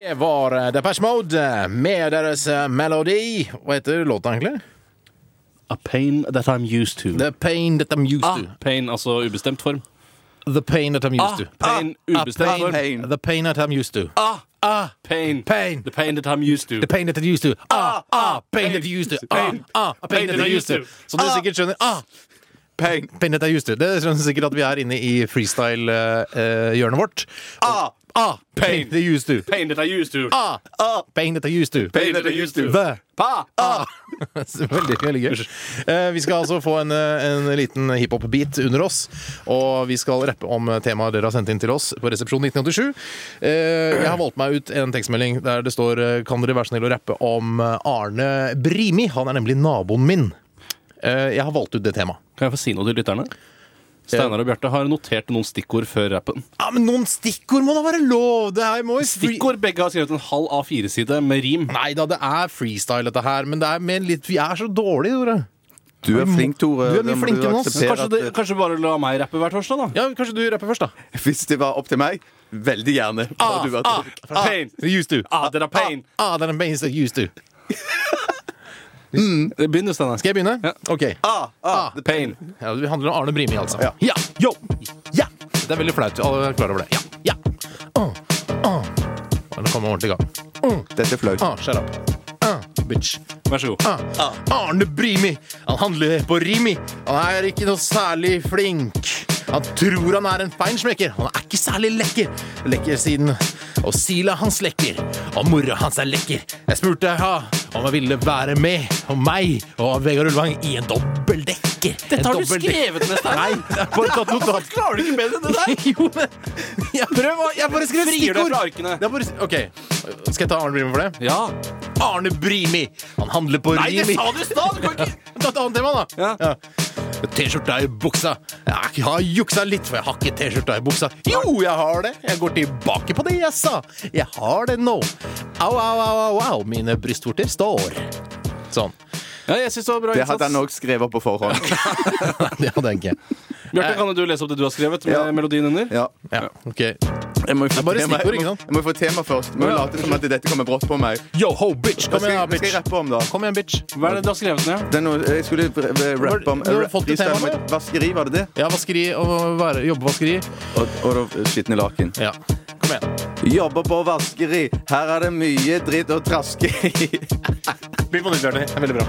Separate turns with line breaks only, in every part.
Det var eh, Depeche Mode eh, med deres eh, melodi. Hva heter låta egentlig?
A pain that I'm used to.
The Pain That I'm Used
Ah.
To.
Pain, altså ubestemt form.
The Pain That I'm Used
Ah.
To.
Pain,
Ah,
ubestemt
pain,
form.
Pain.
The Pain That I'm Used To.
Ah,
Ah,
Pain.
Pain.
The pain that I'm used to.
The Pain That I'm Used To. Ah, ah, Pain That I'm Used To. Ah,
Pain.
ah, Pain That I'm Used To. Som du sikkert skjønner. Ah,
pain.
Pain That I'm Used To. Det skjønner du sikkert at vi er inne i freestyle-hjørnet vårt.
Ah,
Ah, Pain
Pain.
That I'm Used To.
Pain that I used to.
Ah, ah, Pain That I'm Used To.
Pain that I used to.
The
pa, ah.
Veldig, veldig gøy. Eh, Vi skal altså få en, eh, en liten hiphop-beat under oss. Og vi skal rappe om temaet dere har sendt inn til oss på Resepsjon 1987. Eh, Jeg har valgt meg ut en tekstmelding der det står eh, Kan dere være snill å rappe om eh, Arne Brimi? Han er nemlig naboen min. Eh, Jeg har valgt ut det temaet.
Kan jeg få si noe til lytterne? Steinar og Bjarte har notert noen stikkord før rappen.
Ja, men noen stikkord må da være lov! Det her må jo
Stikkord begge har skrevet en halv A4-side med rim.
Nei da, det er freestyle, dette her. Men det er med litt Vi er så dårlige, Tore.
Du er flink, Tore.
Du er mye
Da må
flinkere enn oss.
akseptere
Kanskje, det,
at,
kanskje bare la meg rappe hver torsdag, da?
Ja, kanskje du rapper først, da.
eh, Hvis det var opp til meg, veldig gjerne. Ah, du vært-
Pain.
Used to.
Ah, that I pain.
Ah, det er den beste used to.
Begynn du, Steinar.
Skal jeg begynne?
Ja.
Ok.
ah, ah,
The pain.
Ja, det handler om Arne Brimi, altså.
Ja.
Yo! Ja! Det er veldig flaut. Alle er klar over det. Ja! ja. Uh, uh. Nå kommer jeg ordentlig i gang.
Dette er flaut.
Ah, shut up. Ah, bitch.
Vær så god.
Ah, ah. Arne Brimi, han handler på Rimi. Han er ikke noe særlig flink. Han tror han er en feinschmecker. Han er ikke særlig lekker. Lekker siden. Og sila hans lekker. Og mora hans er lekker. Jeg spurte ja, om jeg ville være med, og meg og Vegard Ulvang, i en dobbeltdekker. En dobbeltdekker.
med,
Nei, det er bare tatt notat.
Klarer du ikke bedre enn det
Jo,
der?
men jeg prøv å Jeg bare skriver
Frier deg
stikkord.
fra arkene.
Det er bare, OK. Skal jeg ta Arne Brimi for det?
Ja.
Arne Brimi! Han handler på Rimi.
du i stad! Du kan ikke
Ta et annet tema, da.
Ja.
T-skjorta i buksa. Jeg har juksa litt, for jeg har ikke T-skjorta i buksa. Jo, jeg har det! Jeg går tilbake på det jeg sa. Jeg har det nå. Au, au, au, au, au. mine brystvorter står. Sånn.
Ja, jeg syns det var bra
Det hadde han
innsats.
òg skrevet opp på forhånd.
Nei, det hadde jeg ikke.
Bjarte, kan du lese opp det du har skrevet med
Ja.
melodien under?
Ja.
Ja, ok.
Jeg må jo
Det
få
er bare
tema-
stikkord, ikke
jeg må-
sant?
jeg må jo få tema først. Må jo late som at dette kommer brått på meg.
Yo ho, bitch!
Hva
Kom igjen, da,
skal jeg, hva skal jeg
bitch.
rappe om, da?
Kom igjen, bitch.
Hva er det du har skrevet ned? eh,
Det er noe, jeg skulle r- r- rappe om
Du har fått det
freestyle
temaet,
om et vaskeri, var det det?
Ja, vaskeri og være, jobbe vaskeri.
Og, og da skitne laken.
Ja. Kom igjen.
Jobber på vaskeri, her er det mye dritt å traske i.
Begynn på nytt, Bjarte. Veldig bra.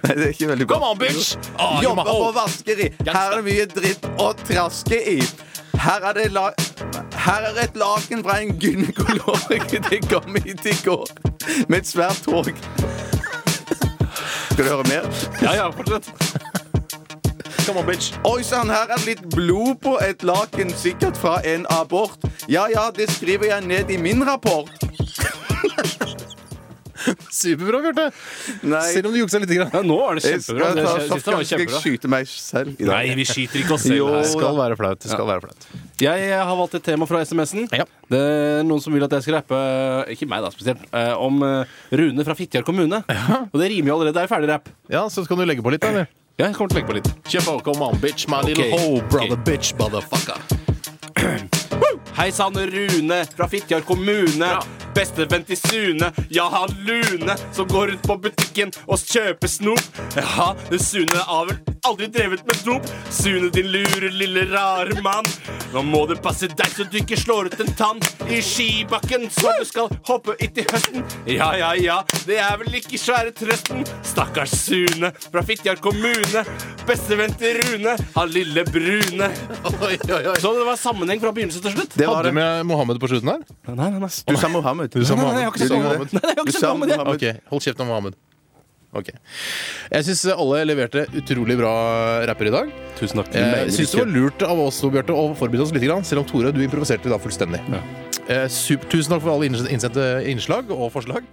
Nei, det er ikke veldig bra.
Come on, bitch! Ah, you
Jobber
my
på
hoe.
vaskeri. Her er det mye dritt å traske i. Her er det la... Her er et laken fra en gynekolog. Det kom hit i går med et svært tog. Skal du høre mer?
Ja, ja, fortsett.
Come on, bitch.
Oi sann, her er det litt blod på et laken, sikkert fra en abort. Ja ja, det skriver jeg ned i min rapport.
Superbra, Bjarte.
Nei,
Selv om du juksa litt. Grann.
Ja, nå er det
jeg skal
kjempebra. Det
ta
jeg synes det var
shotgun, skal jeg
kjempebra.
skyte meg selv i
Nei,
dag.
vi skyter ikke oss
Jo.
selv.
Det
her.
skal være flaut. Det skal være flaut.
Jeg eh, har valgt et tema fra SMS-en.
Ja.
Det er noen som vil at jeg skal rappe eh, Ikke meg, da, spesielt. eh, Om eh, Rune fra Fitjar kommune. Og det rimer jo allerede. Det er jo ferdig rapp.
Ja, så skal du legge på litt, da, eller?
Ja, jeg kommer til å legge på litt.
Kjør på, come on, bitch, my
little hoe, brother,
bitch, motherfucker.
Hei sann, Rune fra Fitjar kommune. Bestevenn til Sune, ja, han Lune, som går rundt på butikken og kjøper snop. Ja, Sune har vel aldri drevet med dop. Sune, din lure, lille rare mann. Nå må du passe deg så du ikke slår ut en tann i skibakken, så du skal hoppe etter høsten. Ja, ja, ja, det er vel ikke svære trøsten. Stakkars Sune fra Fitjar kommune. Bestevenn til Rune, han lille brune.
Oi, oi, oi.
Så det var sammenheng fra begynnelse til slutt?
Det var
Hadde
det.
du med Mohammed på slutten her?
Nei, nei, nei.
Du sa Mohammed.
Du sa
nei,
Mohammed.
jeg har ikke
Du sa
sagt
Mohammed.
Nei, jeg har
Du
ikke
sa
sett noe med det.
Mohammed.
Ok, hold kjeft om Mohammed. Ok. Jeg syns alle leverte utrolig bra rapper i dag.
Tusen takk.
Jeg syns det var lurt av oss to, Bjarte, å forberede oss litt, grann, selv om Tore, du improviserte da fullstendig.
Ja.
Eh, sup- Tusen takk for alle innsendte innslag og forslag.